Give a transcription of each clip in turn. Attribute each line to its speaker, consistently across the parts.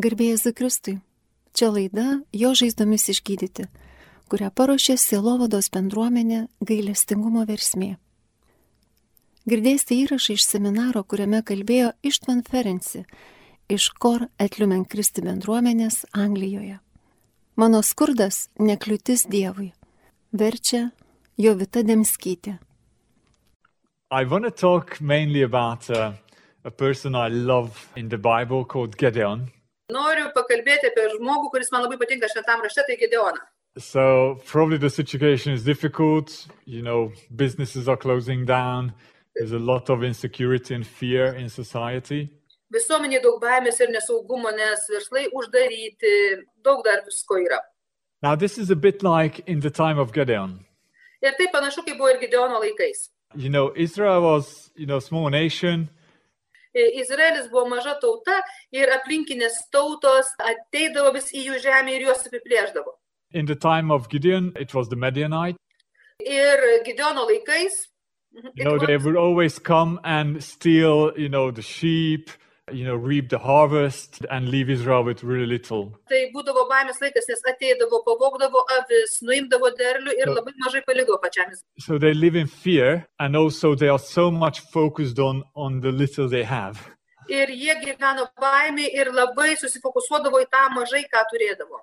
Speaker 1: Garbėjai Zikristui. Čia laida Jo žaizdomis išgydyti, kurią paruošė Silovados bendruomenė gailestingumo versmė. Girdėsite įrašą iš seminaro, kuriame kalbėjo Ištvan Ferenci iš Kor Etliumen Kristi bendruomenės Anglijoje. Mano skurdas nekliūtis Dievui. Verčia Jovita Demskytė.
Speaker 2: I want to talk mainly about uh, a person I love in the Bible called Gideon.
Speaker 3: Noriu pakalbėti apie žmogų, kuris man labai patinka šventame rašte, tai Gedeoną.
Speaker 2: So, probably the situation is difficult. You know, businesses are closing down. There's a lot of insecurity and fear in society.
Speaker 3: Visuomenėje daug baimės ir nesaugumo, nes verslai uždaryti, daug dar visko yra.
Speaker 2: Now, this is a bit like in the time of Gideon.
Speaker 3: Ir tai panašu, kaip buvo ir Gedeono laikais.
Speaker 2: You know, Israel was, you know, small nation.
Speaker 3: I- Izraelis buvo maža tauta ir aplinkinės tautos ateidavo vis į jų žemę ir juos apiplėždavo.
Speaker 2: In the time of Gideon, it was the Midianite.
Speaker 3: Ir Gedeono laikais. Mhm,
Speaker 2: You know, they would always come and steal, you know, the sheep, you know, reap the harvest and leave Israel with really little.
Speaker 3: Tai būdavo baimės laikas, nes ateidavo, pavogdavo avis, nuimdavo derlių ir
Speaker 2: Jo.
Speaker 3: labai mažai paliko pačiam Izraeliui.
Speaker 2: So they live in fear and also they are so much focused on on the little they have.
Speaker 3: Ir jie gyveno baimį ir labai susifokusuodavo į tą mažai, ką turėdavo.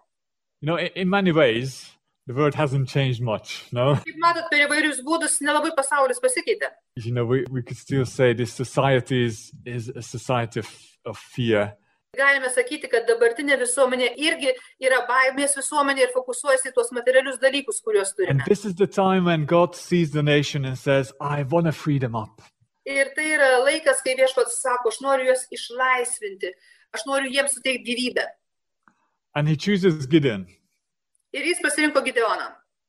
Speaker 2: You know, in, in many ways, the world hasn't changed much, no?
Speaker 3: Kaip matot, per įvairius būdus nelabai pasaulis pasikeitė.
Speaker 2: You know, we, we could still say this society is, is a society of, of fear.
Speaker 3: Galime sakyti, kad dabartinė visuomenė irgi yra baimės visuomenė ir fokusuojasi į tuos materialius dalykus, kuriuos
Speaker 2: And
Speaker 3: turime.
Speaker 2: this is the time when God sees the nation and says, I want to free them up.
Speaker 3: Ir tai yra laikas, kai viešpats sako, aš noriu juos išlaisvinti, aš noriu jiems suteikti gyvybę.
Speaker 2: And he chooses Gideon.
Speaker 3: Ir jis pasirinko Gideoną.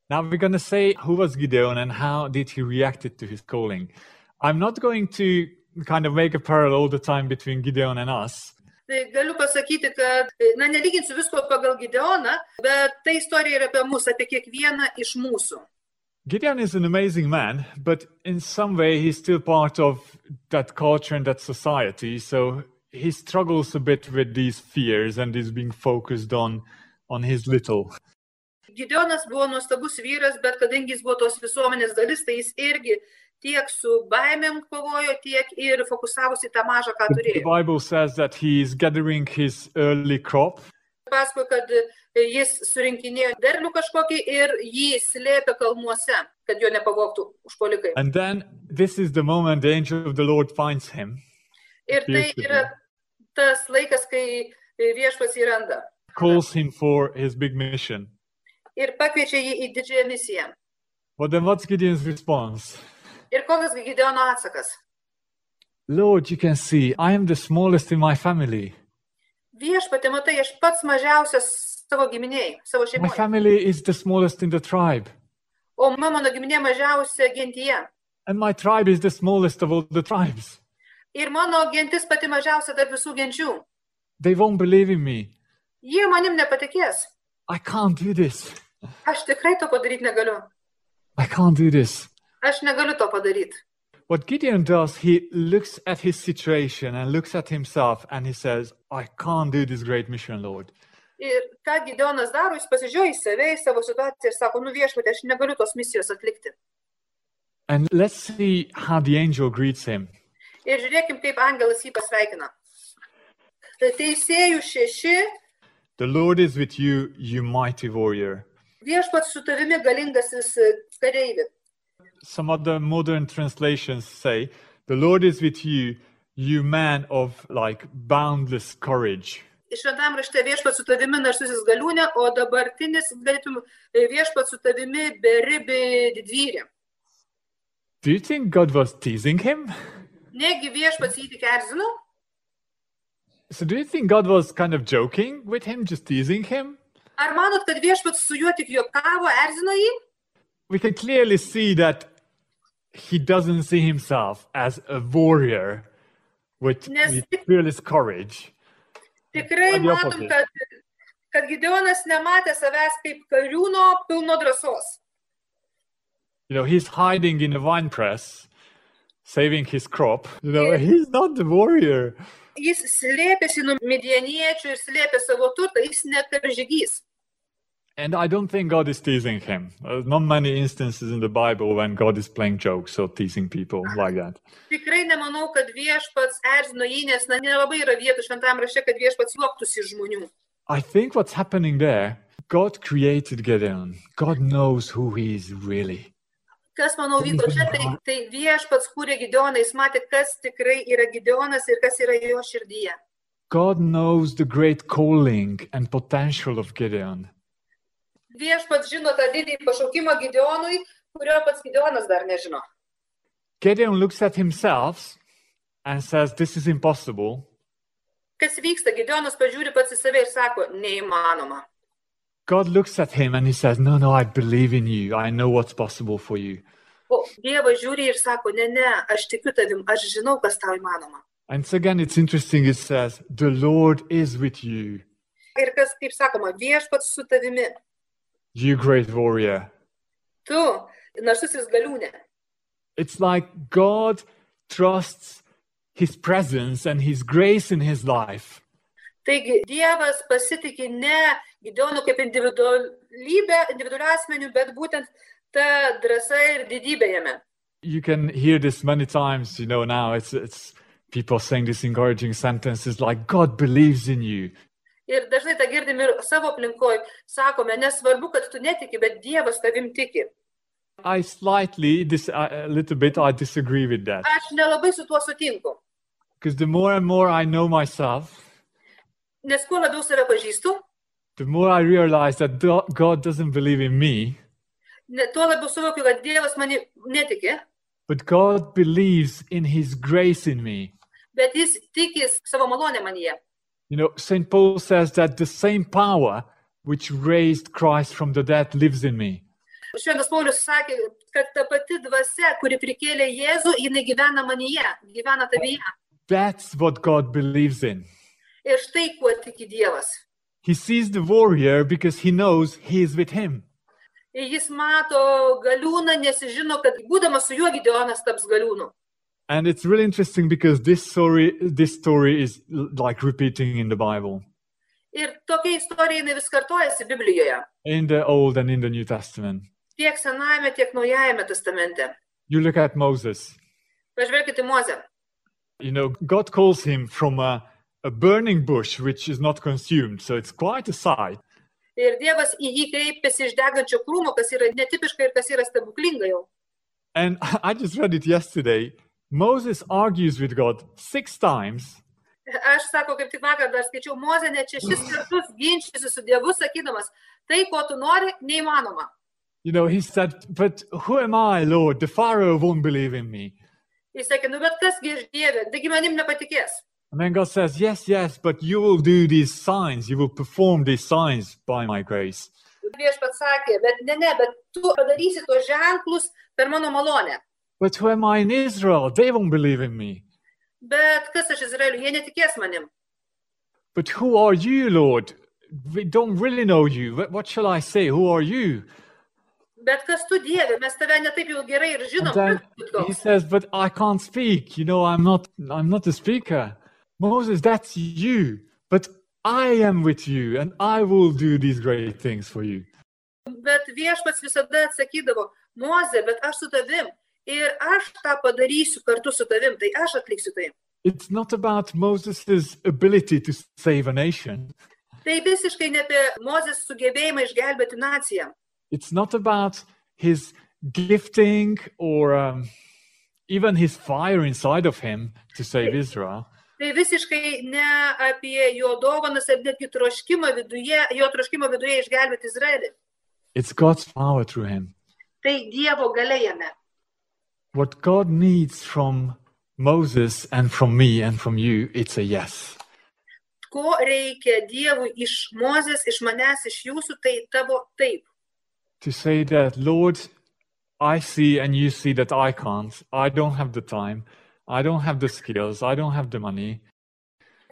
Speaker 2: Now we're going to say who was Gideon and how did he reacted to his calling. I'm not going to kind of make a parallel all the time between Gideon and us.
Speaker 3: Tai galiu pasakyti, kad, na, neliginsiu visko pagal Gideoną, bet tai istorija yra apie mus, apie kiekvieną iš mūsų.
Speaker 2: Gideon is an amazing man, but in some way he's still part of that culture and that society. So he struggles a bit with these fears and is being focused on on his little.
Speaker 3: Gideonas buvo nuostabus vyras, bet kadangi jis buvo tos visuomenės dalis, tai jis irgi tiek su baimėm kovojo, tiek ir fokusavosi į tą mažą, ką
Speaker 2: The
Speaker 3: turėjo.
Speaker 2: Bible says that he is gathering his early crop
Speaker 3: Paskui, kad e, jis surinkinėjo derlių kažkokį ir jį slėpė kalnuose, kad jo nepavogtų užpolikai.
Speaker 2: and then this is the moment the angel of the Lord finds him,
Speaker 3: Ir tai yra tas laikas, kai e, viešpas įranda
Speaker 2: calls him for his big mission.
Speaker 3: ir pakviečia jį į didžiąją misiją.
Speaker 2: Well then what's Gideon's response?
Speaker 3: Ir kokias Gideono atsakas?
Speaker 2: Lord, you can see I am the smallest in my family.
Speaker 3: Viešpatė, matai, aš pats mažiausias savo giminiai, savo
Speaker 2: My
Speaker 3: šeimoje.
Speaker 2: family is the smallest in the tribe.
Speaker 3: O ma- mano giminė mažiausia gentyje.
Speaker 2: And my tribe is the smallest of all the tribes.
Speaker 3: Ir mano gentis pati mažiausia tarp visų genčių.
Speaker 2: They won't believe in me.
Speaker 3: Jie manim nepatikės.
Speaker 2: I can't do this.
Speaker 3: Aš tikrai to padaryti negaliu.
Speaker 2: I can't do this.
Speaker 3: Aš negaliu to padaryti.
Speaker 2: What Gideon does, he looks at his situation and looks at himself and he says, I can't do this great mission, Lord.
Speaker 3: Ir ką Gideonas daro, jis pasižiūrėjo į save, į savo situaciją ir sako, nu viešpatė, aš negaliu tos misijos atlikti.
Speaker 2: And let's see how the angel greets him.
Speaker 3: Ir žiūrėkim, kaip angelas jį pasveikina. Tai Teisėjų šeši,
Speaker 2: The Lord is with you, you mighty warrior.
Speaker 3: viešpats su tavimi galingasis kareivi.
Speaker 2: Some other modern translations say, The Lord is with you, you man of like boundless courage.
Speaker 3: Šventam rašte viešpats su tavimi narsusis galiūnė, o dabartinis, galėtum, viešpats su tavimi beribi didvyrė.
Speaker 2: Do you think God was teasing him?
Speaker 3: Negi viešpats jį tik erzino?
Speaker 2: So do you think God was kind of joking with him, just teasing him?
Speaker 3: Ar manot, kad viešpats su juo tik juokavo, erzino jį?
Speaker 2: We can clearly see that he doesn't see himself as a warrior with,
Speaker 3: Yes.
Speaker 2: with fearless courage.
Speaker 3: Tikrai
Speaker 2: Ar jo
Speaker 3: matom,
Speaker 2: paties?
Speaker 3: kad, kad Gideonas nematė savęs kaip kariūno pilno drąsos.
Speaker 2: You know, he's hiding in the wine press, saving his crop. You know, he's not the warrior.
Speaker 3: jis slėpėsi nuo midieniečių ir slėpė savo turtą, jis neperžygys.
Speaker 2: And I don't think God is teasing him. There's not many instances in the Bible when God is playing jokes or teasing people like that.
Speaker 3: Tikrai nemanau, kad viešpats erzino jį, nes na, nelabai yra vietų šventame rašte, kad viešpats juoktųsi iš žmonių.
Speaker 2: I think what's happening there, God created Gideon. God knows who he is really.
Speaker 3: Kas, manau, vyko čia, tai, tai viešpats kūrė Gideoną, jis matė, kas tikrai yra Gideonas ir kas yra jo širdyje.
Speaker 2: God knows the great calling and potential of Gideon.
Speaker 3: Viešpats žino tą didį pašaukimą Gideonui, kurio pats Gideonas dar nežino.
Speaker 2: Gideon looks at himself and says, This is impossible.
Speaker 3: Kas vyksta, Gideonas pažiūri pats į save ir sako, neįmanoma.
Speaker 2: God looks at him and he says, No, no, I believe in you. I know what's possible for you.
Speaker 3: O Dievas žiūri ir sako, ne, ne, aš tikiu tavim, aš žinau, kas tau įmanoma.
Speaker 2: And so again, it's interesting. It says, The Lord is with you,
Speaker 3: Ir kas, kaip sakoma, viešpats su tavimi.
Speaker 2: you great warrior.
Speaker 3: Tu, narsusis galiūnė.
Speaker 2: It's like God trusts his presence and his grace in his life.
Speaker 3: Taigi Dievas pasitikė ne Gideonu kaip individualybę, individualią asmenių, bet būtent ta drąsa ir didybė jame.
Speaker 2: You can hear this many times, you know, now it's it's people saying these encouraging sentences like God believes in you.
Speaker 3: Ir dažnai tą girdim ir savo aplinkoje, sakome, nesvarbu, kad tu netiki, bet Dievas tavim tiki.
Speaker 2: I slightly dis- uh, a a little bit I disagree with that
Speaker 3: Aš nelabai su tuo sutinku,
Speaker 2: because the more and more I know myself,
Speaker 3: nes kuo labiau save pažįstu,
Speaker 2: the more I realize that do- God doesn't believe in me,
Speaker 3: ne- tuo labiau suvokiu, kad Dievas mani netiki,
Speaker 2: but God believes in his grace in me.
Speaker 3: bet jis tikis savo malonę manyje.
Speaker 2: You know, St. Paul says that the same power which raised Christ from the dead lives in me.
Speaker 3: Šventas Paulius sakė, kad ta pati dvasia, kuri prikėlė Jėzų, jinai gyvena manyje, gyvena tavyje.
Speaker 2: That's what God believes in.
Speaker 3: Ir štai kuo tiki Dievas.
Speaker 2: He sees the warrior because he knows he is with him.
Speaker 3: Ir jis mato galiūną, nes jis žino, kad būdamas su juo Gideonas taps galiūnu.
Speaker 2: And it's really interesting because this story this story is l- like repeating in the Bible,
Speaker 3: Ir tokia istorija jinai vis kartojasi Biblijoje.
Speaker 2: in the Old and in the New Testament.
Speaker 3: Tiek Senajame, tiek Naujajame testamente.
Speaker 2: You look at Moses.
Speaker 3: Pažvelkite į Mozę.
Speaker 2: You know, God calls him from a, a burning bush which is not consumed, so it's quite a sight.
Speaker 3: Ir Dievas į jį kreipiasi iš degančio krūmo, kas yra netipiška ir kas yra stebuklinga jau.
Speaker 2: And I just read it yesterday. Moses argues with God six times
Speaker 3: Aš sako, kaip tik vakar dar skaičiau, Mozė net šešis kartus ginčiasi su Dievu, sakydamas, tai, ko tu nori, neįmanoma.
Speaker 2: You know, he said, But who am I, Lord? The Pharaoh won't believe in me.
Speaker 3: Jis sakė, nu bet kasgi iš Dievė, taigi manim nepatikės.
Speaker 2: And then God says, Yes, yes, but you will do these signs. You will perform these signs by my grace.
Speaker 3: Prieš pat sakė, bet ne, ne, bet tu padarysi tuos ženklus per mano malonę.
Speaker 2: But who am I in Israel? They won't believe in me.
Speaker 3: Bet kas aš Izraeliu, jie netikės manim.
Speaker 2: But who are you, Lord? We don't really know you. What, what shall I say? Who are you?
Speaker 3: Bet kas tu Dievė, mes tave netaip jau gerai ir
Speaker 2: And
Speaker 3: žinom.
Speaker 2: then
Speaker 3: kas tu
Speaker 2: he
Speaker 3: toks.
Speaker 2: says, But I can't speak. You know, I'm not I'm not a speaker. Moses, that's you. But I am with you and I will do these great things for you.
Speaker 3: Bet viešpats visada atsakydavo, Mozė, bet aš su tavim. Ir aš tą padarysiu kartu su tavim, tai aš atliksiu tai.
Speaker 2: It's not about Moses' ability to save a nation.
Speaker 3: Tai visiškai ne apie Mozės sugebėjimą išgelbėti naciją.
Speaker 2: It's not about his gifting or um, even his fire inside of him to save Israel.
Speaker 3: Tai visiškai ne apie jo dovanas ir netgi troškimą viduje, jo troškimą viduje išgelbėti Izraelį.
Speaker 2: It's God's power through him.
Speaker 3: Tai Dievo galėjame.
Speaker 2: What God needs from Moses and from me and from you, it's a yes.
Speaker 3: Ko reikia Dievui iš Mozės, iš manęs, iš jūsų, tai tavo taip.
Speaker 2: To say that, Lord, I see and you see that I can't. I don't have the time. I don't have the skills. I don't have the money.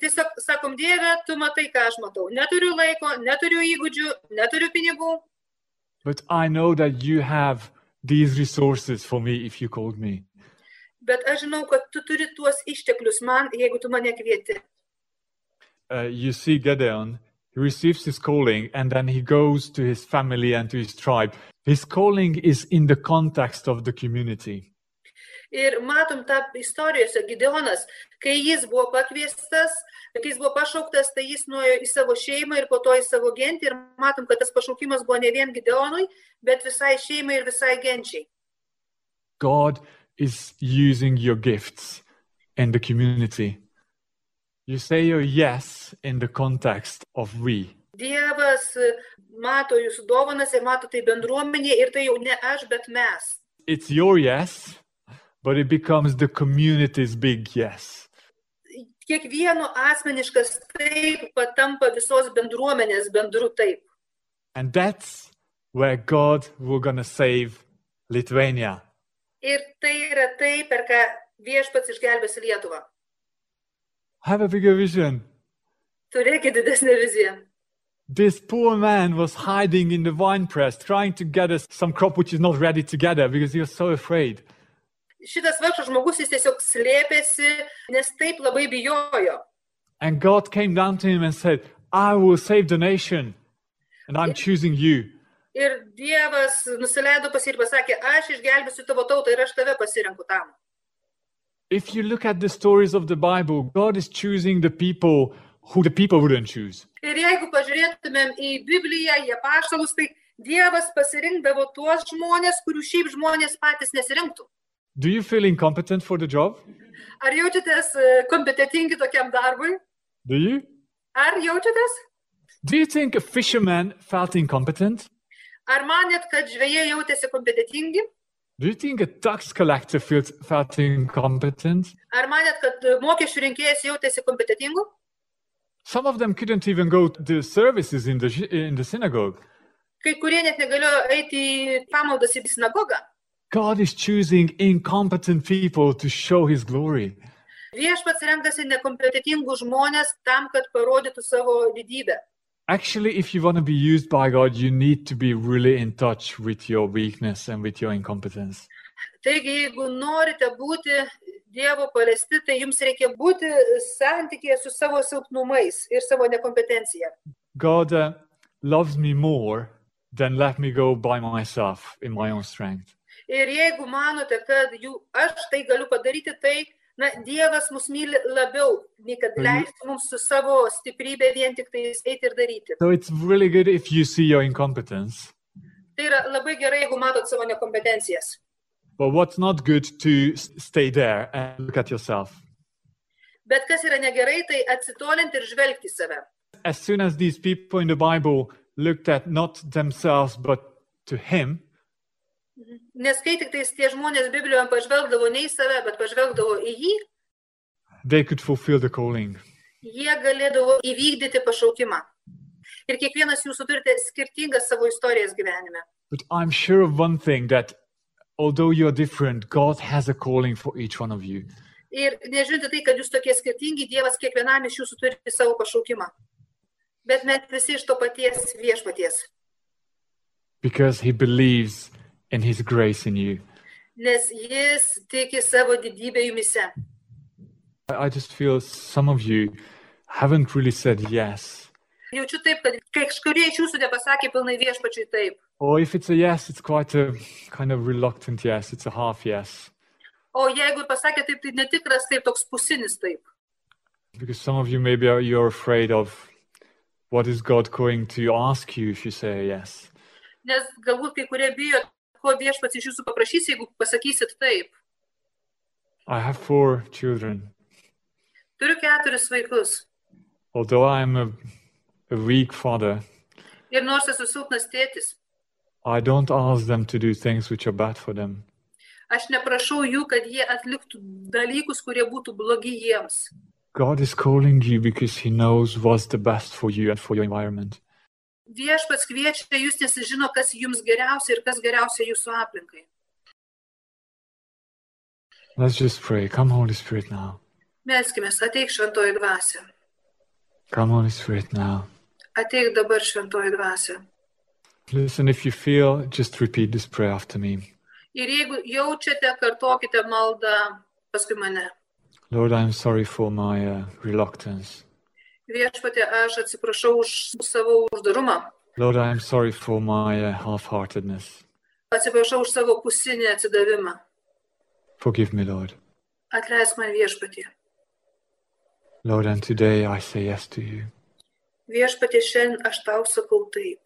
Speaker 3: Tiesiog sakom, Dieve, tu matai, ką aš matau. Neturiu laiko, neturiu įgūdžių, neturiu pinigų,
Speaker 2: But I know that you have these resources for me if you called me.
Speaker 3: bet aš žinau, kad tu turi tuos išteklius man, jeigu tu mane kvieti.
Speaker 2: uh, you see Gedeon, he receives his calling and then he goes to his family and to his tribe. His calling is in the context of the community.
Speaker 3: Ir matom tą istorijose Gideonas, kai jis buvo pakviestas, kai jis buvo pašauktas, tai jis nuėjo į savo šeimą ir po to į savo gentį. Ir matom, kad tas pašaukimas buvo ne vien Gideonui, bet visai šeimai ir visai genčiai.
Speaker 2: God is using your gifts in the community. You say your yes in the context of we.
Speaker 3: Dievas e, mato jūsų dovanas ir mato tai bendruomenė ir tai jau ne aš, bet mes.
Speaker 2: It's your yes, but it becomes the community's big yes.
Speaker 3: Kiekvieno asmeniškas taip patampa visos bendruomenės bendru taip.
Speaker 2: And that's where God will gonna save Lithuania.
Speaker 3: Ir tai yra tai, per ką viešpats išgelbės Lietuvą.
Speaker 2: Have a bigger vision.
Speaker 3: Turėkit didesnę viziją.
Speaker 2: This poor man was hiding in the wine press, trying to gather some crop which is not ready to gather because he was so afraid.
Speaker 3: Šitas vargšas žmogus jis tiesiog slėpėsi, nes taip labai bijojo.
Speaker 2: And God came down to him and said, I will save the nation, and I'm choosing you.
Speaker 3: Ir Dievas nusileido pas jį ir pasakė, aš išgelbėsiu tavo tautą ir aš tave pasirenku tam.
Speaker 2: If you look at the stories of the Bible, God is choosing the people who the people wouldn't choose.
Speaker 3: Ir jeigu pažiūrėtumėm į Bibliją, į apaštalus, tai Dievas pasirinkdavo tuos žmonės, kurių šiaip žmonės patys nesirinktų.
Speaker 2: Do you feel incompetent for the job?
Speaker 3: Ar jaučiatės e, kompetitingi tokiam darbui?
Speaker 2: Do you?
Speaker 3: Ar jaučiatės?
Speaker 2: Do you think a fisherman felt incompetent?
Speaker 3: Ar manėt, kad žvėjai jautėsi kompetitingi?
Speaker 2: Do you think a tax collector feels felt incompetent?
Speaker 3: Ar manėt, kad e, mokesčių rinkėjas jautėsi kompetitingu?
Speaker 2: Some of them couldn't even go to the services in the sh- in the synagogue.
Speaker 3: Kai kurie net negalėjo eiti į pamaldas į sinagogą.
Speaker 2: God is choosing incompetent people to show his glory.
Speaker 3: Viešpats renkasi nekompetitingus žmonės tam, kad parodytų savo didybę.
Speaker 2: Actually, if you want to be used by God, you need to be really in touch with your weakness and with your incompetence.
Speaker 3: Taigi, jeigu norite būti Dievo palesti, tai jums reikia būti santykėje su savo silpnumais ir savo nekompetencija.
Speaker 2: God uh, loves me more than let me go by myself in my own strength.
Speaker 3: Ir jeigu manote, kad jų, aš tai galiu padaryti, tai na, Dievas mus myli labiau, nei kad
Speaker 2: Mhm.
Speaker 3: leistų mums su savo stiprybė vien tik tai eiti ir daryti.
Speaker 2: So it's really good if you see your incompetence.
Speaker 3: Tai yra labai gerai, jeigu matot savo nekompetencijas.
Speaker 2: But what's not good to s- stay there and look at yourself.
Speaker 3: Bet kas yra negerai, tai atsitolinti ir žvelgti į save.
Speaker 2: As soon as these people in the Bible looked at not themselves but to him,
Speaker 3: Nes kai tik tais tie žmonės Biblijoje pažvelgdavo ne į save, bet pažvelgdavo į jį,
Speaker 2: they could fulfill the calling.
Speaker 3: jie galėdavo įvykdyti pašaukimą. Ir kiekvienas jūsų turite skirtingą savo istorijas gyvenime.
Speaker 2: But I'm sure of one thing that although you're different, God has a calling for each one of you.
Speaker 3: Ir nežiūrinti tai, kad jūs tokie skirtingi, Dievas kiekvienam iš jūsų turi savo pašaukimą. Bet mes visi iš to paties viešpaties.
Speaker 2: because he believes in his grace in you.
Speaker 3: Nes jis tiki savo didybę jumise.
Speaker 2: I I just feel some of you haven't really said yes.
Speaker 3: Jaučiu taip, kad kažkurie iš jūsų nepasakė pilnai viešpačiui taip.
Speaker 2: Or if it's a yes, it's quite a kind of reluctant yes, it's a half yes.
Speaker 3: O jeigu ir pasakė taip, tai netikras taip, toks pusinis taip.
Speaker 2: Because some of you maybe are, you're afraid of what is God going to ask you if you say a yes.
Speaker 3: Nes galbūt kai kurie bijo, ko viešpats iš jūsų paprašys, jeigu pasakysit taip.
Speaker 2: I have four children.
Speaker 3: Turiu keturis vaikus.
Speaker 2: Although I'm a, a weak father,
Speaker 3: Ir nors esu silpnas tėtis,
Speaker 2: I don't ask them to do things which are bad for them.
Speaker 3: aš neprašau jų, kad jie atliktų dalykus, kurie būtų blogi jiems.
Speaker 2: God is calling you because he knows what's the best for you and for your environment.
Speaker 3: Viešpats kviečia jūs, nes jis žino, kas jums geriausia ir kas geriausia jūsų aplinkai.
Speaker 2: Let's just pray. Come, Holy Spirit, now.
Speaker 3: Melskime, ateik šventoji dvasia.
Speaker 2: Come, Holy Spirit, now.
Speaker 3: Ateik dabar šventoji dvasia.
Speaker 2: Listen, if you feel, just repeat this prayer after me.
Speaker 3: Ir jeigu jaučiate, kartokite maldą paskui mane.
Speaker 2: Lord, I'm sorry for my uh, reluctance.
Speaker 3: Viešpatė, aš atsiprašau už savo uždarumą,
Speaker 2: Lord, I am sorry for my uh, half heartedness.
Speaker 3: atsiprašau už savo pusinį atsidavimą.
Speaker 2: Forgive me, Lord.
Speaker 3: Atleisk man viešpatė.
Speaker 2: Lord, and today I say yes to you,
Speaker 3: Viešpatė, šiandien aš tau sakau taip,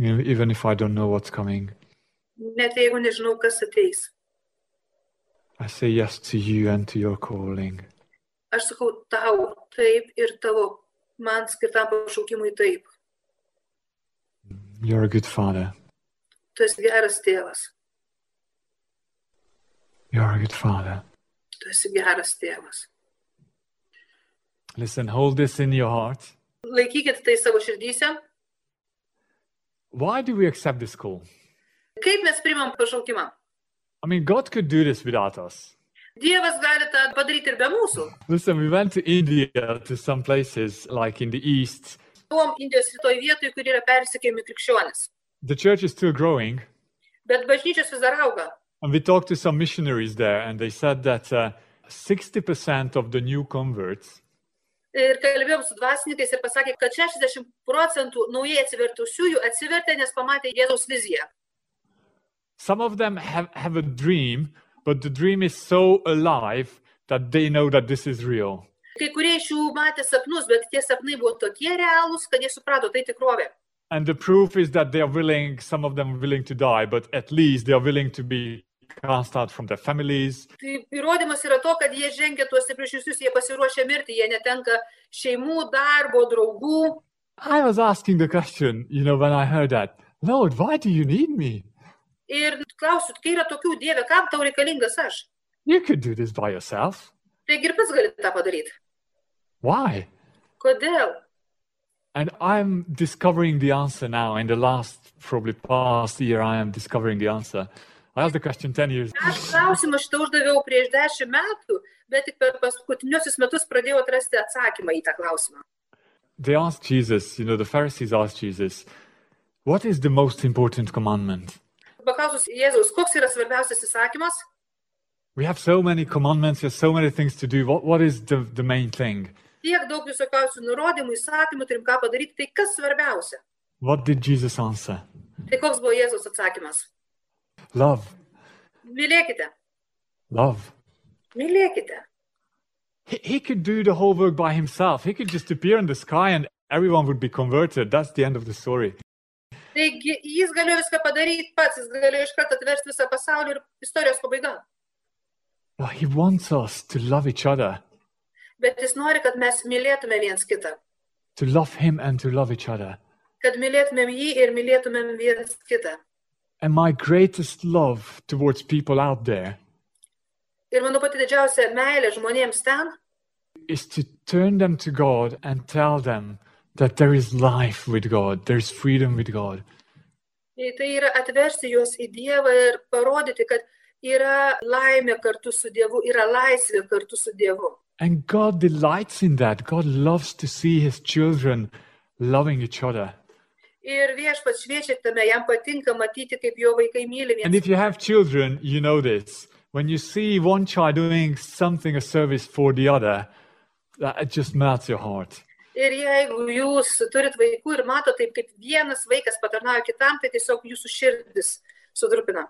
Speaker 2: e- even if I don't know what's coming.
Speaker 3: net jeigu nežinau, kas ateis.
Speaker 2: I say yes to you and to your calling.
Speaker 3: Aš sakau tau taip ir tavo man skirtam pašaukimui taip.
Speaker 2: You're a good father.
Speaker 3: Tu esi geras tėvas,
Speaker 2: You're a good father.
Speaker 3: tu esi geras tėvas.
Speaker 2: Listen, hold this in your heart.
Speaker 3: Laikykit tai savo širdyse.
Speaker 2: Why do we accept this call?
Speaker 3: Kaip mes primam pašaukimą?
Speaker 2: I mean, God could do this without us.
Speaker 3: Dievas gali tą padaryti ir be mūsų.
Speaker 2: Listen, we went to India to some places like in the East.
Speaker 3: Buvom Indijos rytoj vietoj, kur yra persikėjami krikščionis.
Speaker 2: The church is still growing.
Speaker 3: Bet bažnyčios vis dar auga.
Speaker 2: And we talked to some missionaries there, and they said that uh, 60% of the new converts
Speaker 3: Ir kalbėjom su dvasininkais ir pasakė, kad 60 procentų naujai atsivertusiųjų atsivertė, nes pamatė Jėzaus viziją.
Speaker 2: Some of them have, have a dream, but the dream is so alive that they know that this is real.
Speaker 3: Kai kurie iš jų matė sapnus, bet tie sapnai buvo tokie realūs, kad jie suprato, tai tikrovė.
Speaker 2: And the proof is that they are willing, some of them are willing to die, but at least they are willing to be cast out from their families.
Speaker 3: Tai įrodymas yra to, kad jie žengia tuos stipriusius, jie pasiruošia mirti, jie netenka šeimų, darbo, draugų.
Speaker 2: I was asking the question, you know, when I heard that, Lord, why do you need me?
Speaker 3: Ir klausiu, kai yra tokių dievė, kam tau reikalingas aš?
Speaker 2: You could do this by yourself.
Speaker 3: Taigi ir pats gali tą padaryti.
Speaker 2: Why?
Speaker 3: Kodėl?
Speaker 2: And I'm discovering the answer now. In the last, probably past year, I am discovering the answer. I asked the question 10 years.
Speaker 3: Aš klausimą šitą uždaviau prieš dešimt metų, bet tik per paskutiniusius metus pradėjau atrasti atsakymą į tą klausimą.
Speaker 2: They asked Jesus, you know, the Pharisees asked Jesus, what is the most important commandment?
Speaker 3: Paklausus Jėzaus, koks yra svarbiausias įsakymas?
Speaker 2: We have so many commandments, there's so many things to do. What, what is the, the main thing?
Speaker 3: Tiek daug visokiausių nurodymų, įsakymų, turim ką padaryti, tai kas svarbiausia?
Speaker 2: What did Jesus answer?
Speaker 3: Tai koks buvo Jėzaus atsakymas?
Speaker 2: Love,
Speaker 3: Mylėkite,
Speaker 2: love.
Speaker 3: mylėkite.
Speaker 2: He, he could do the whole work by himself. He could just appear in the sky and everyone would be converted. That's the end of the story.
Speaker 3: Taigi jis galėjo viską padaryti pats, jis galėjo iš karto atversti visą pasaulį ir istorijos pabaiga.
Speaker 2: Well, he wants us to love each other,
Speaker 3: Bet jis nori, kad mes mylėtume viens kitą,
Speaker 2: to love him and to love each other.
Speaker 3: kad mylėtumėm jį ir mylėtumėm viens kitą.
Speaker 2: And my greatest love towards people out there
Speaker 3: Ir mano pati didžiausia meilė žmonėms ten
Speaker 2: is to turn them to God and tell them that there is life with God, there's freedom with God.
Speaker 3: Tai tai yra atversti juos į Dievą ir parodyti, kad yra laimė kartu su Dievu, yra laisvė kartu su Dievu.
Speaker 2: And God delights in that. God loves to see his children loving each other.
Speaker 3: Ir viešpats šviečia tame, jam patinka matyti, kaip jo vaikai myli
Speaker 2: And
Speaker 3: vieni.
Speaker 2: if you have children, you know this. When you see one child doing something, a service for the other, that it just melts your heart.
Speaker 3: Ir jeigu jūs turit vaikų ir mato taip, kaip vienas vaikas patarnauja kitam, tai tiesiog jūsų širdis sudrupina.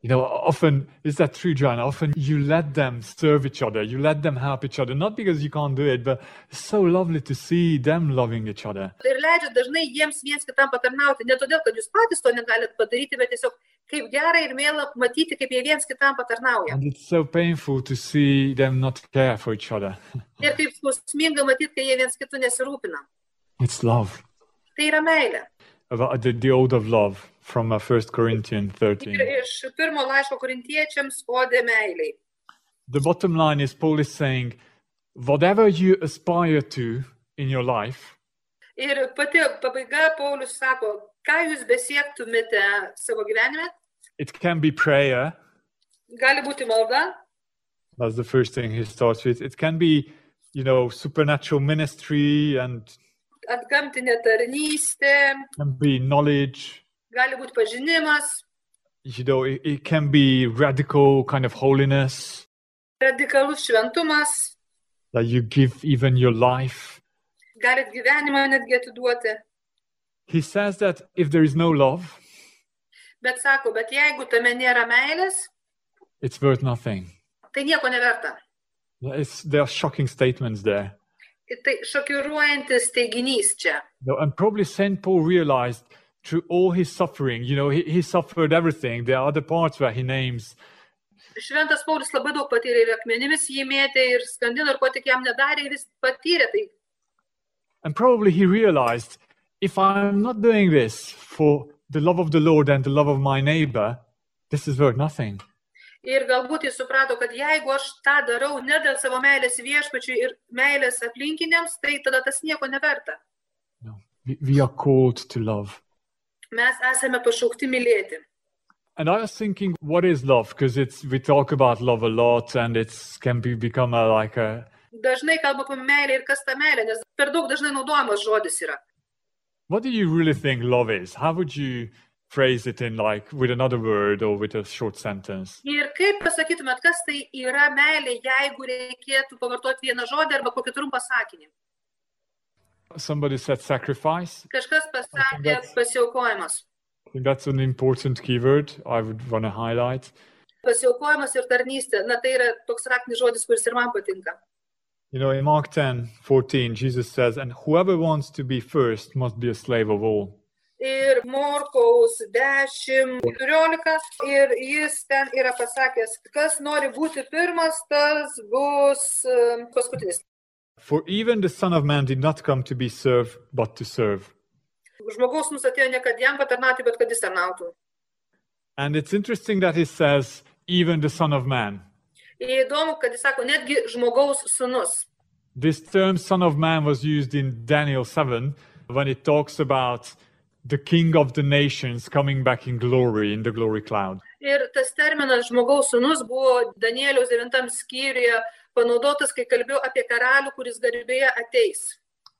Speaker 2: You know, often, is that true, Joanna? Often you let them serve each other, you let them help each other, not because you can't do it, but it's so lovely to see them loving each other.
Speaker 3: Ir leidžia dažnai jiems viens kitam patarnauti, ne todėl, kad jūs patys to negalit padaryti, bet tiesiog kaip gerai ir mėla matyti, kaip jie viens kitam patarnauja.
Speaker 2: And it's so painful to see them not care for each other.
Speaker 3: Ir kaip skausminga matyti, kai jie viens kitų nesirūpina.
Speaker 2: It's love.
Speaker 3: Tai yra meilė.
Speaker 2: About the, the ode of love from uh, 1 Corinthians
Speaker 3: Ir
Speaker 2: 13.
Speaker 3: iš pirmo laiško korintiečiams odė meiliai.
Speaker 2: The bottom line is Paul is saying, whatever you aspire to in your life,
Speaker 3: Ir pati pabaiga Paulius sako, ką jūs besiektumėte savo gyvenime,
Speaker 2: it can be prayer.
Speaker 3: gali būti malda,
Speaker 2: That's the first thing he starts with. It can be, you know, supernatural ministry and
Speaker 3: atgamtinė tarnystė,
Speaker 2: can be knowledge
Speaker 3: gali būti pažinimas,
Speaker 2: you know it, it can be radical kind of holiness
Speaker 3: radikalus šventumas,
Speaker 2: that you give even your life
Speaker 3: galit gyvenimą netgi atiduoti.
Speaker 2: He says that if there is no love,
Speaker 3: Bet sako, bet jeigu tame nėra meilės,
Speaker 2: it's worth nothing.
Speaker 3: tai nieko neverta.
Speaker 2: It's, there are shocking statements there.
Speaker 3: Ir Tai šokiruojantis teiginys čia.
Speaker 2: No, And probably St. Paul realized through all his suffering, you know, he, he suffered everything. There are other parts where he names
Speaker 3: Šventas Paulius labai daug patyrė ir akmenimis jį mėtė, ir skandino, ir ko tik jam nedarė, ir jis patyrė tai.
Speaker 2: And probably he realized if I'm not doing this for the love of the Lord and the love of my neighbor, this is worth nothing.
Speaker 3: Ir galbūt jis suprato, kad jeigu aš tą darau ne dėl savo meilės viešpačiui ir meilės aplinkiniams, tai tada tas nieko neverta.
Speaker 2: No, we, we are called to love.
Speaker 3: Mes esame pašaukti mylėti.
Speaker 2: And I was thinking, what is love? Because it's we talk about love a lot, and it's can be become a, like a.
Speaker 3: Dažnai kalba apie meilę ir kas ta meilė, nes per daug dažnai naudojamas žodis yra.
Speaker 2: What do you really think love is? How would you phrase it in like with another word or with a short sentence?
Speaker 3: Ir kaip pasakytumėt, kas tai yra meilė, jeigu reikėtų pavartoti vieną žodį arba kokį trumpą sakinį?
Speaker 2: Somebody said sacrifice.
Speaker 3: Kažkas pasakė pasiaukojimas.
Speaker 2: I think that's an important keyword. I would want to highlight.
Speaker 3: Pasiaukojimas ir tarnystė, na tai yra toks raktinis žodis, kuris ir man patinka.
Speaker 2: You know, in Mark 10 14, Jesus says, And whoever wants to be first must be a slave of all.
Speaker 3: Ir Morkaus 10, 14. Ir jis ten yra pasakęs, kas nori būti pirmas, tas bus e, paskutinis.
Speaker 2: For even the Son of Man did not come to be served, but to serve.
Speaker 3: Žmogaus mums atėjo ne kad jam patarnauti, bet kad jis tarnautų.
Speaker 2: And it's interesting that he says, Even the Son of Man.
Speaker 3: Ir įdomu, kad jis sako, netgi žmogaus sunus.
Speaker 2: This term, Son of Man, was used in Daniel 7 when it talks about the King of the nations coming back in glory, in the glory cloud.
Speaker 3: Ir tas terminas žmogaus sunus buvo Danieliaus 9 skyriuje panaudotas, kai kalbėjau apie karalių, kuris garbėje ateis.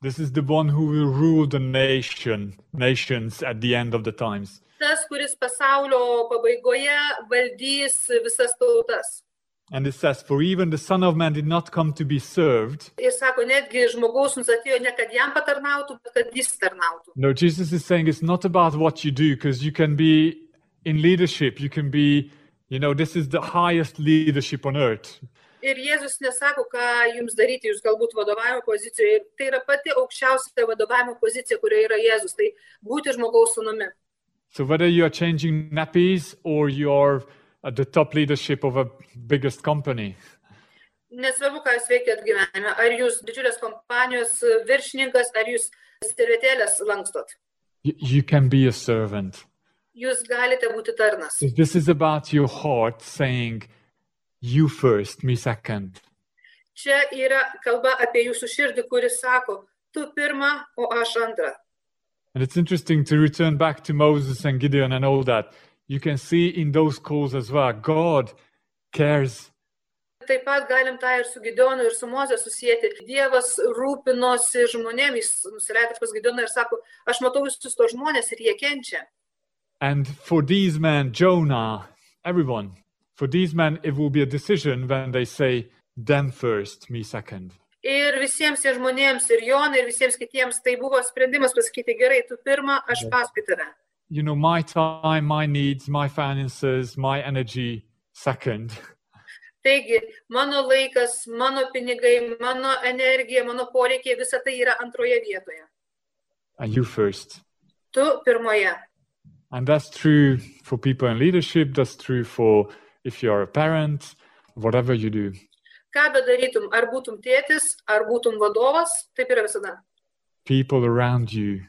Speaker 2: This is the one who will rule the nation, nations at the end of the times.
Speaker 3: Tas, kuris pasaulio pabaigoje valdys visas tautas.
Speaker 2: And it says, For even the Son of Man did not come to be served.
Speaker 3: Ir sako, netgi žmogaus mums atėjo ne kad jam patarnautų, bet kad jis tarnautų.
Speaker 2: No, Jesus is saying it's not about what you do, because you can be in leadership. You can be, you know, this is the highest leadership on earth.
Speaker 3: Ir Jėzus nesako, ką jums daryti, jūs galbūt vadovavimo pozicijoje. Ir tai yra pati aukščiausia vadovavimo pozicija, kurioje yra Jėzus, tai būti žmogaus sunumi.
Speaker 2: So whether you are changing nappies or you're at the top leadership of a biggest company,
Speaker 3: Nesvarbu, ką jūs veikėt gyvenime, ar jūs didžiulės kompanijos viršininkas, ar jūs servetėlės lankstot.
Speaker 2: y- you can be a servant.
Speaker 3: Jūs galite būti tarnas.
Speaker 2: So This is about your heart saying, you first, me second.
Speaker 3: Čia yra kalba apie jūsų širdį, kuris sako, tu pirmą, o aš antrą.
Speaker 2: And it's interesting to return back to Moses and Gideon and all that. You can see in those calls as well, God cares
Speaker 3: Taip pat galim tą ir su Gideonu, ir su Moze susijęti. Dievas rūpinosi žmonėmis, nusileidė pas Gideoną ir sako, aš matau visus to žmonės ir jie kenčia.
Speaker 2: And for these men, Jonah, everyone, for these men, it will be a decision when they say, them first, me second.
Speaker 3: Ir visiems tie žmonėms, ir Jonai, ir visiems kitiems tai buvo sprendimas pasakyti, gerai, tu pirmą, aš paskui tave.
Speaker 2: You know, my time, my needs, my finances, my energy, second.
Speaker 3: Taigi, mano laikas, mano pinigai, mano energija, mano poreikiai, visa tai yra antroje vietoje.
Speaker 2: And you first.
Speaker 3: Tu pirmoje.
Speaker 2: And that's true for people in leadership. That's true for if you're a parent, whatever you do.
Speaker 3: Ką bedarytum, ar būtum tėtis, ar būtum vadovas, taip yra visada.
Speaker 2: People around you,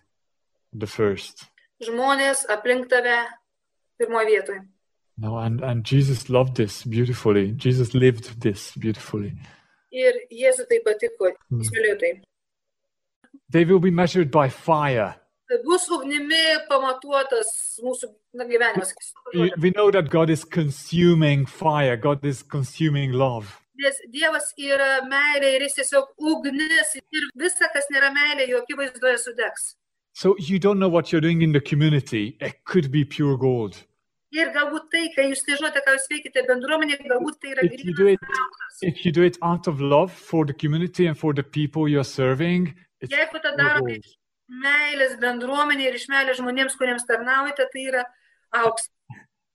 Speaker 2: the first.
Speaker 3: Žmonės aplink tave pirmoje vietoje.
Speaker 2: No, and, and Jesus loved this beautifully. Jesus lived this beautifully.
Speaker 3: Ir Jėzų tai patiko, jis mylėjo tai.
Speaker 2: They will be measured by fire.
Speaker 3: Bus ugnimi pamatuotas mūsų na, gyvenimas.
Speaker 2: We we know that God is consuming fire, God is consuming love.
Speaker 3: Nes Dievas yra meilė ir jis tiesiog ugnis ir visa, kas nėra meilė, jokie vaizdoje sudegs.
Speaker 2: So you don't know what you're doing in the community. It could be pure gold.
Speaker 3: Ir galbūt tai, kai jūs nežinote, ką jūs veikite bendruomenėje, galbūt tai yra
Speaker 2: If you do it,
Speaker 3: grynas melas.
Speaker 2: if you do it out of love for the community and for the people you're serving, It's
Speaker 3: Jeigu tą darote
Speaker 2: gold.
Speaker 3: iš meilės bendruomenė ir iš meilės žmonėms, kuriems tarnaujate, tai yra auksas.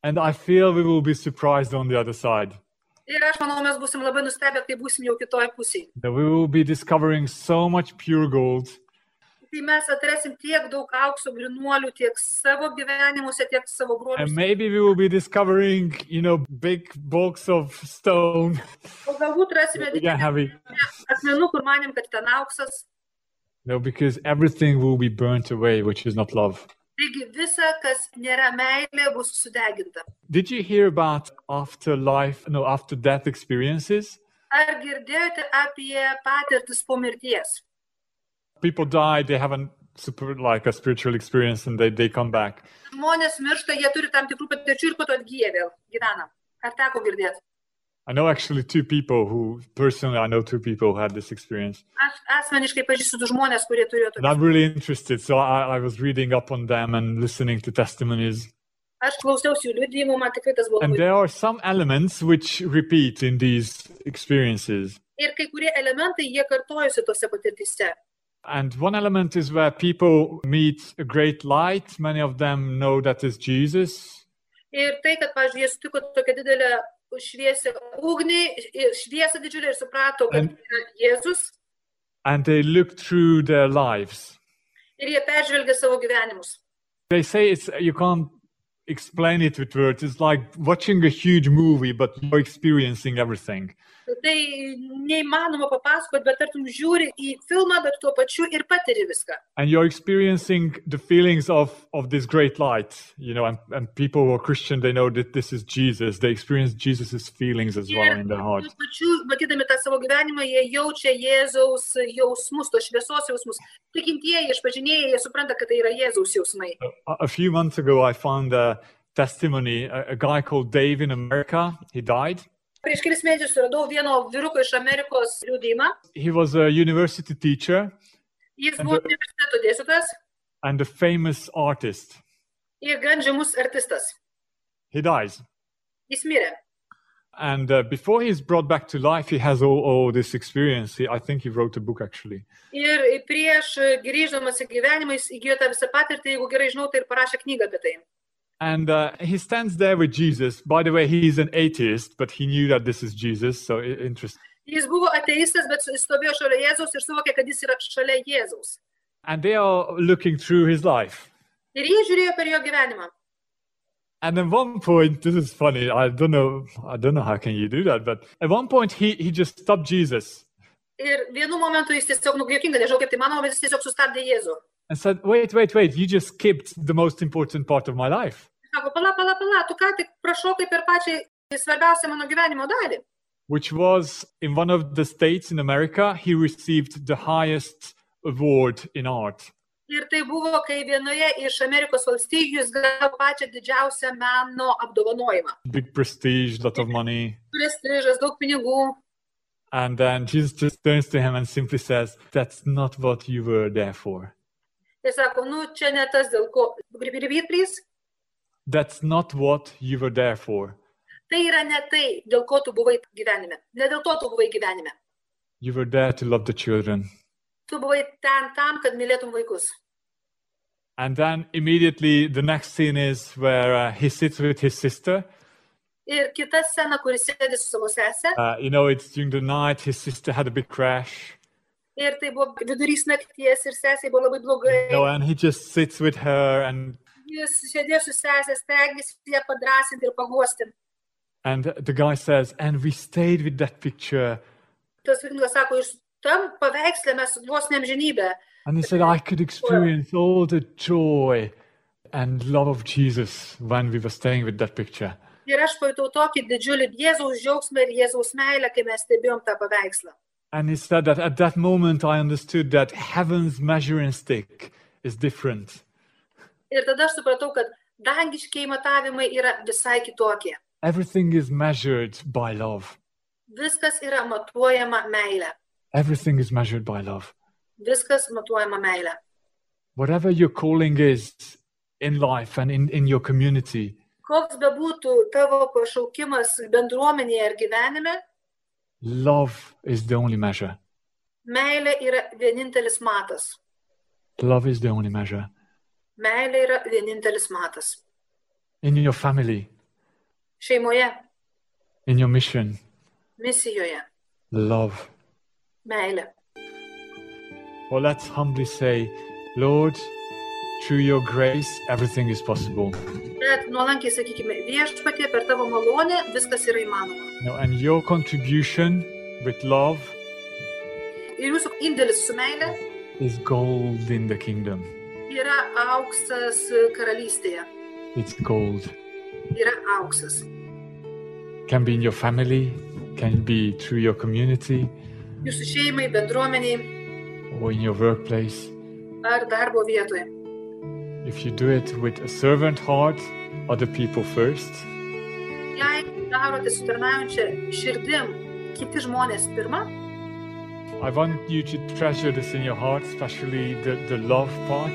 Speaker 2: And I feel we will be surprised on the other side.
Speaker 3: Ir aš manau, mes busim labai nustebę, kai busim jau kitoje pusėje.
Speaker 2: That we will be discovering so much pure gold
Speaker 3: Kai Tai mes atrasim tiek daug aukso grinuolių tiek savo gyvenimuose, tiek savo
Speaker 2: and
Speaker 3: broliuose.
Speaker 2: maybe we will be discovering, you know, big blocks of stone.
Speaker 3: O galbūt rasime
Speaker 2: yeah, heavy.
Speaker 3: asmenų, kur manėm, kad ten auksas.
Speaker 2: No, because everything will be burnt away, which is not love.
Speaker 3: Taigi visa, kas nėra meilė, bus sudeginta.
Speaker 2: Did you hear about afterlife, no, after death experiences?
Speaker 3: Ar girdėjote apie patirtis po mirties?
Speaker 2: People die, they have a super, like a spiritual experience, and they, they come back.
Speaker 3: Žmonės miršta, jie turi tam tikrų patirčių ir po to atgyja vėl gyvena. Ar teko girdėti?
Speaker 2: I know actually two people who, personally, I know two people who had this experience.
Speaker 3: Aš asmeniškai pažįstu du žmonės, kurie turėjo
Speaker 2: And
Speaker 3: tokį.
Speaker 2: I'm really interested. So I, I was reading up on them and listening to testimonies.
Speaker 3: Aš klausiausi jų liudijimų, man tikrai tas buvo.
Speaker 2: And
Speaker 3: labai-
Speaker 2: there are some elements which repeat in these experiences.
Speaker 3: Ir kai kurie elementai, jie kartojosi tose patirtise.
Speaker 2: And one element is where people meet a great light. Many of them know that is Jesus.
Speaker 3: Ir tai, kad, pavyzdžiui, jie sutiko tokią didelę šviesę ugnį, ir šviesą didžiulę ir suprato, kad tai
Speaker 2: Ant-
Speaker 3: yra Jėzus.
Speaker 2: And they look through their lives.
Speaker 3: Ir jie peržvelgia savo gyvenimus.
Speaker 2: They say it's you can't explain it with words. It's like watching a huge movie, but you're experiencing everything.
Speaker 3: Tai neįmanoma papasakoti, bet tartum žiūri į filmą, bet tuo pačiu ir patiri viską.
Speaker 2: And you're experiencing the feelings of, of this great light, you know, and, and people who are Christian, they know that this is Jesus. They experience Jesus' feelings as well
Speaker 3: Ir
Speaker 2: in their heart.
Speaker 3: tuo pačiu, matydami tą savo gyvenimą, jie jaučia Jėzaus jausmus, tos šviesos jausmus. Tikintieji, išpažinėjai, jie supranta, kad tai yra Jėzaus jausmai.
Speaker 2: A a few months ago, I found a testimony. A, a guy called Dave in America, he died.
Speaker 3: Prieš kelis mėnesius radau vieno vyruko iš Amerikos liūdėjimą.
Speaker 2: He was a university teacher
Speaker 3: Jis buvo
Speaker 2: Anda-
Speaker 3: universiteto dėstytojas
Speaker 2: and a famous artist.
Speaker 3: ir gan žymus artistas.
Speaker 2: He dies.
Speaker 3: Jis mirė.
Speaker 2: And uh, before he's brought back to life, he has all, all this experience. He, I think he wrote a book actually.
Speaker 3: Ir prieš grįždamas į gyvenimą jis įgyjo tą visą patirtį, jeigu gerai žinau, tai ir parašė knygą apie tai.
Speaker 2: And uh, he stands there with Jesus. By the way, he's an atheist, but he knew that this is Jesus. So i- interesting.
Speaker 3: Jis buvo ateistas, bet jis stovėjo šalia Jėzaus ir suvokė, kad jis yra šalia Jėzaus.
Speaker 2: And they are looking through his life.
Speaker 3: Ir jie žiūrėjo per jo gyvenimą.
Speaker 2: And at one point, this is funny. I don't know. I don't know how can you do that. But at one point, he he just stopped Jesus
Speaker 3: Ir vienu momentu jis tiesiog, nu, jokinga, nežinau kaip tai manoma, bet jis tiesiog sustabdė Jėzų.
Speaker 2: and said, "Wait, wait, wait! You just skipped the most important part of my life,
Speaker 3: Jis sako, pala, pala, pala, tu ką tik prašokai per pačią svarbiausią mano gyvenimo dalį.
Speaker 2: which was in one of the states in America. He received the highest award in art,
Speaker 3: Ir tai buvo, kai vienoje iš Amerikos valstybių jis gavo pačią didžiausią meno apdovanojimą.
Speaker 2: big prestige, lot of money."
Speaker 3: Prestižas, daug pinigų.
Speaker 2: And then Jesus just turns to him and simply says, "That's not what you were there for.
Speaker 3: Ir sako, nu, čia ne tas, dėl ko. Repeat, please.
Speaker 2: That's not what you were there for.
Speaker 3: Tai yra ne tai, dėl ko tu buvai gyvenime. Ne dėl to tu buvai gyvenime.
Speaker 2: You were there to love the children."
Speaker 3: Tu buvai ten tam, kad mylėtum vaikus.
Speaker 2: And then immediately the next scene is where uh, he sits with his sister.
Speaker 3: Ir kita scena, kuris sėdi su savo sesė,
Speaker 2: Uh, you know, it's during the night. His sister had a big crash.
Speaker 3: ir tai buvo vidurys nakties, ir sesė buvo labai blogai.
Speaker 2: No, and he just sits with her and
Speaker 3: Jis sėdėjo su sesė, stengėsi ją padrasinti ir paguosti.
Speaker 2: and the guy says, and we stayed with that picture.
Speaker 3: Tas vaikinas sako, iš tam paveikslė mes vos nemžinybę.
Speaker 2: And he said, I could experience all the joy and love of Jesus when we were staying with that picture.
Speaker 3: Ir aš pajutau tokį didžiulį Jėzaus džiaugsmą ir Jėzaus meilę, kai mes stebėjom tą paveikslą.
Speaker 2: And he said that at that moment I understood that heaven's measuring stick is different.
Speaker 3: Ir tada aš supratau, kad dangiškiai matavimai yra visai kitokie.
Speaker 2: Everything is measured by love.
Speaker 3: Viskas yra matuojama meilė.
Speaker 2: Everything is measured by love.
Speaker 3: Viskas matuojama meilė.
Speaker 2: Whatever your calling is in life and in, in your community,
Speaker 3: Koks bebūtų tavo pašaukimas bendruomenėje ar gyvenime,
Speaker 2: love is the only measure.
Speaker 3: Meilė yra vienintelis matas.
Speaker 2: Love is the only measure.
Speaker 3: Meilė yra vienintelis matas.
Speaker 2: In your family,
Speaker 3: Šeimoje,
Speaker 2: in your mission,
Speaker 3: misijoje,
Speaker 2: love.
Speaker 3: meilė.
Speaker 2: Or let's humbly say, Lord, through your grace, everything is possible.
Speaker 3: Bet nuolankiai sakykime, viešpatie per tavo malonę viskas yra įmanoma.
Speaker 2: You know, and your contribution with love
Speaker 3: Ir jūsų indėlis su meilė
Speaker 2: is gold in the kingdom.
Speaker 3: yra auksas karalystėje.
Speaker 2: It's gold.
Speaker 3: Yra auksas.
Speaker 2: Can be in your family, can be through your community
Speaker 3: Jūsų šeimai, bendruomeniai
Speaker 2: or in your workplace.
Speaker 3: ar darbo vietoje.
Speaker 2: If you do it with a servant heart, other people first,
Speaker 3: Jei darote su tarnaujančia širdim, kiti žmonės pirmą,
Speaker 2: I want you to treasure this in your heart, especially the, the love part.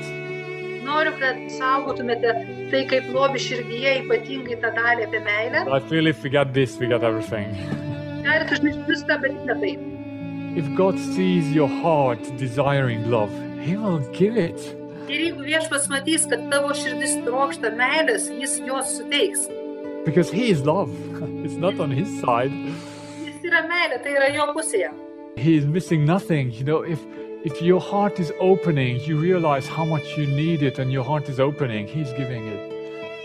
Speaker 3: noriu, kad saugotumėte tai kaip lobi širdyje, ypatingai tą dalį apie meilę.
Speaker 2: I feel if we got this, we got everything.
Speaker 3: Galite užmiršti viską, bet ne tai.
Speaker 2: If God sees your heart desiring love, He will give it.
Speaker 3: Ir jeigu viešpas matys, kad tavo širdis trokšta meilės, jis jos suteiks.
Speaker 2: Because He is love. It's not on His side.
Speaker 3: Jis yra meilė, tai yra jo pusėje.
Speaker 2: He is missing nothing. You know, if if your heart is opening, you realize how much you need it and your heart is opening, He's giving it.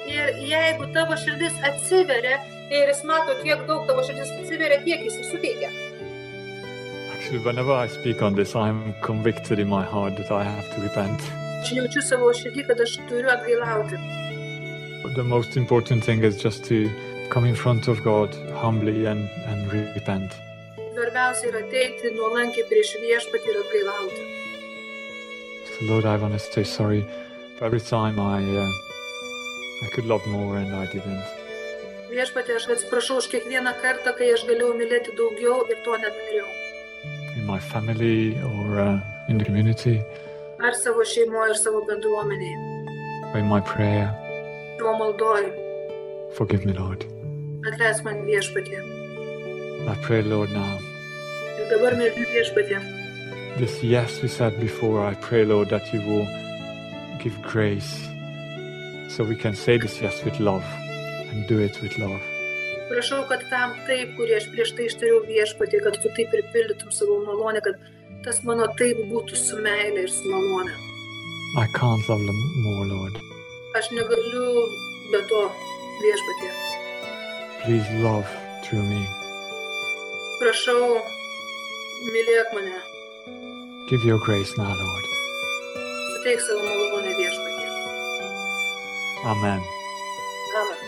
Speaker 3: Ir jeigu tavo širdis atsiveria ir jis mato, kiek daug tavo širdis atsiveria, tiek jis ir suteikia.
Speaker 2: Actually, whenever I speak on this, I'm convicted in my heart that I have to repent.
Speaker 3: Aš jaučiu savo širdį, kad aš turiu atgailauti.
Speaker 2: The most important thing is just to come in front of God humbly and, and repent.
Speaker 3: Svarbiausia yra ateiti nuolankiai prieš viešpatį ir atgailauti.
Speaker 2: So Lord, I want to say sorry for every time I uh, I could love more and I didn't.
Speaker 3: Viešpatį aš atsiprašau už kiekvieną kartą, kai aš galėjau mylėti daugiau ir to nedariau.
Speaker 2: in my family or uh, in the community,
Speaker 3: Ar savo šeimoje, ar savo bendruomenėje.
Speaker 2: or in my prayer.
Speaker 3: Tuo maldoju,
Speaker 2: Forgive me, Lord.
Speaker 3: atleis man viešpatį.
Speaker 2: I pray, Lord, now.
Speaker 3: Ir dabar mėgiu viešpatį.
Speaker 2: This yes we said before, I pray, Lord, that you will give grace so we can say this yes with love and do it with love.
Speaker 3: Prašau, kad tam taip, kurį aš prieš tai ištariau viešpatį, kad tu taip pripildytum savo malonę, kad tas mano taip būtų su meilė ir su malonė.
Speaker 2: I can't love them more, Lord.
Speaker 3: Aš negaliu be to viešpatį.
Speaker 2: Please love through me.
Speaker 3: Prašau, mylėk mane,
Speaker 2: Give your grace now, Lord.
Speaker 3: suteik savo malonę viešpatį.
Speaker 2: Amen.
Speaker 3: Amen.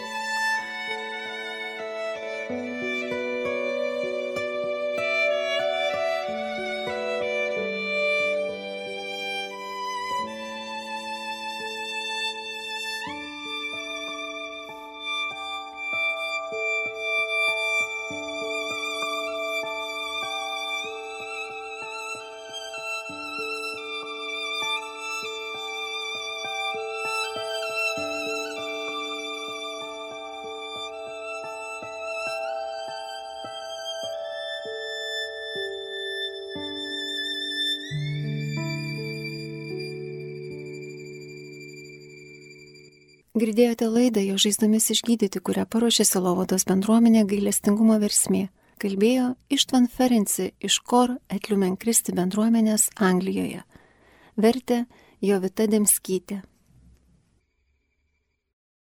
Speaker 1: Girdėjote laidą jo žaizdomis išgydyti, kurią paruošė Silovados bendruomenė gailestingumo versmė. Kalbėjo Ištvan Ferenci iš Kor Etliumen Kristi bendruomenės Anglijoje. Vertė Jovita Demskytė.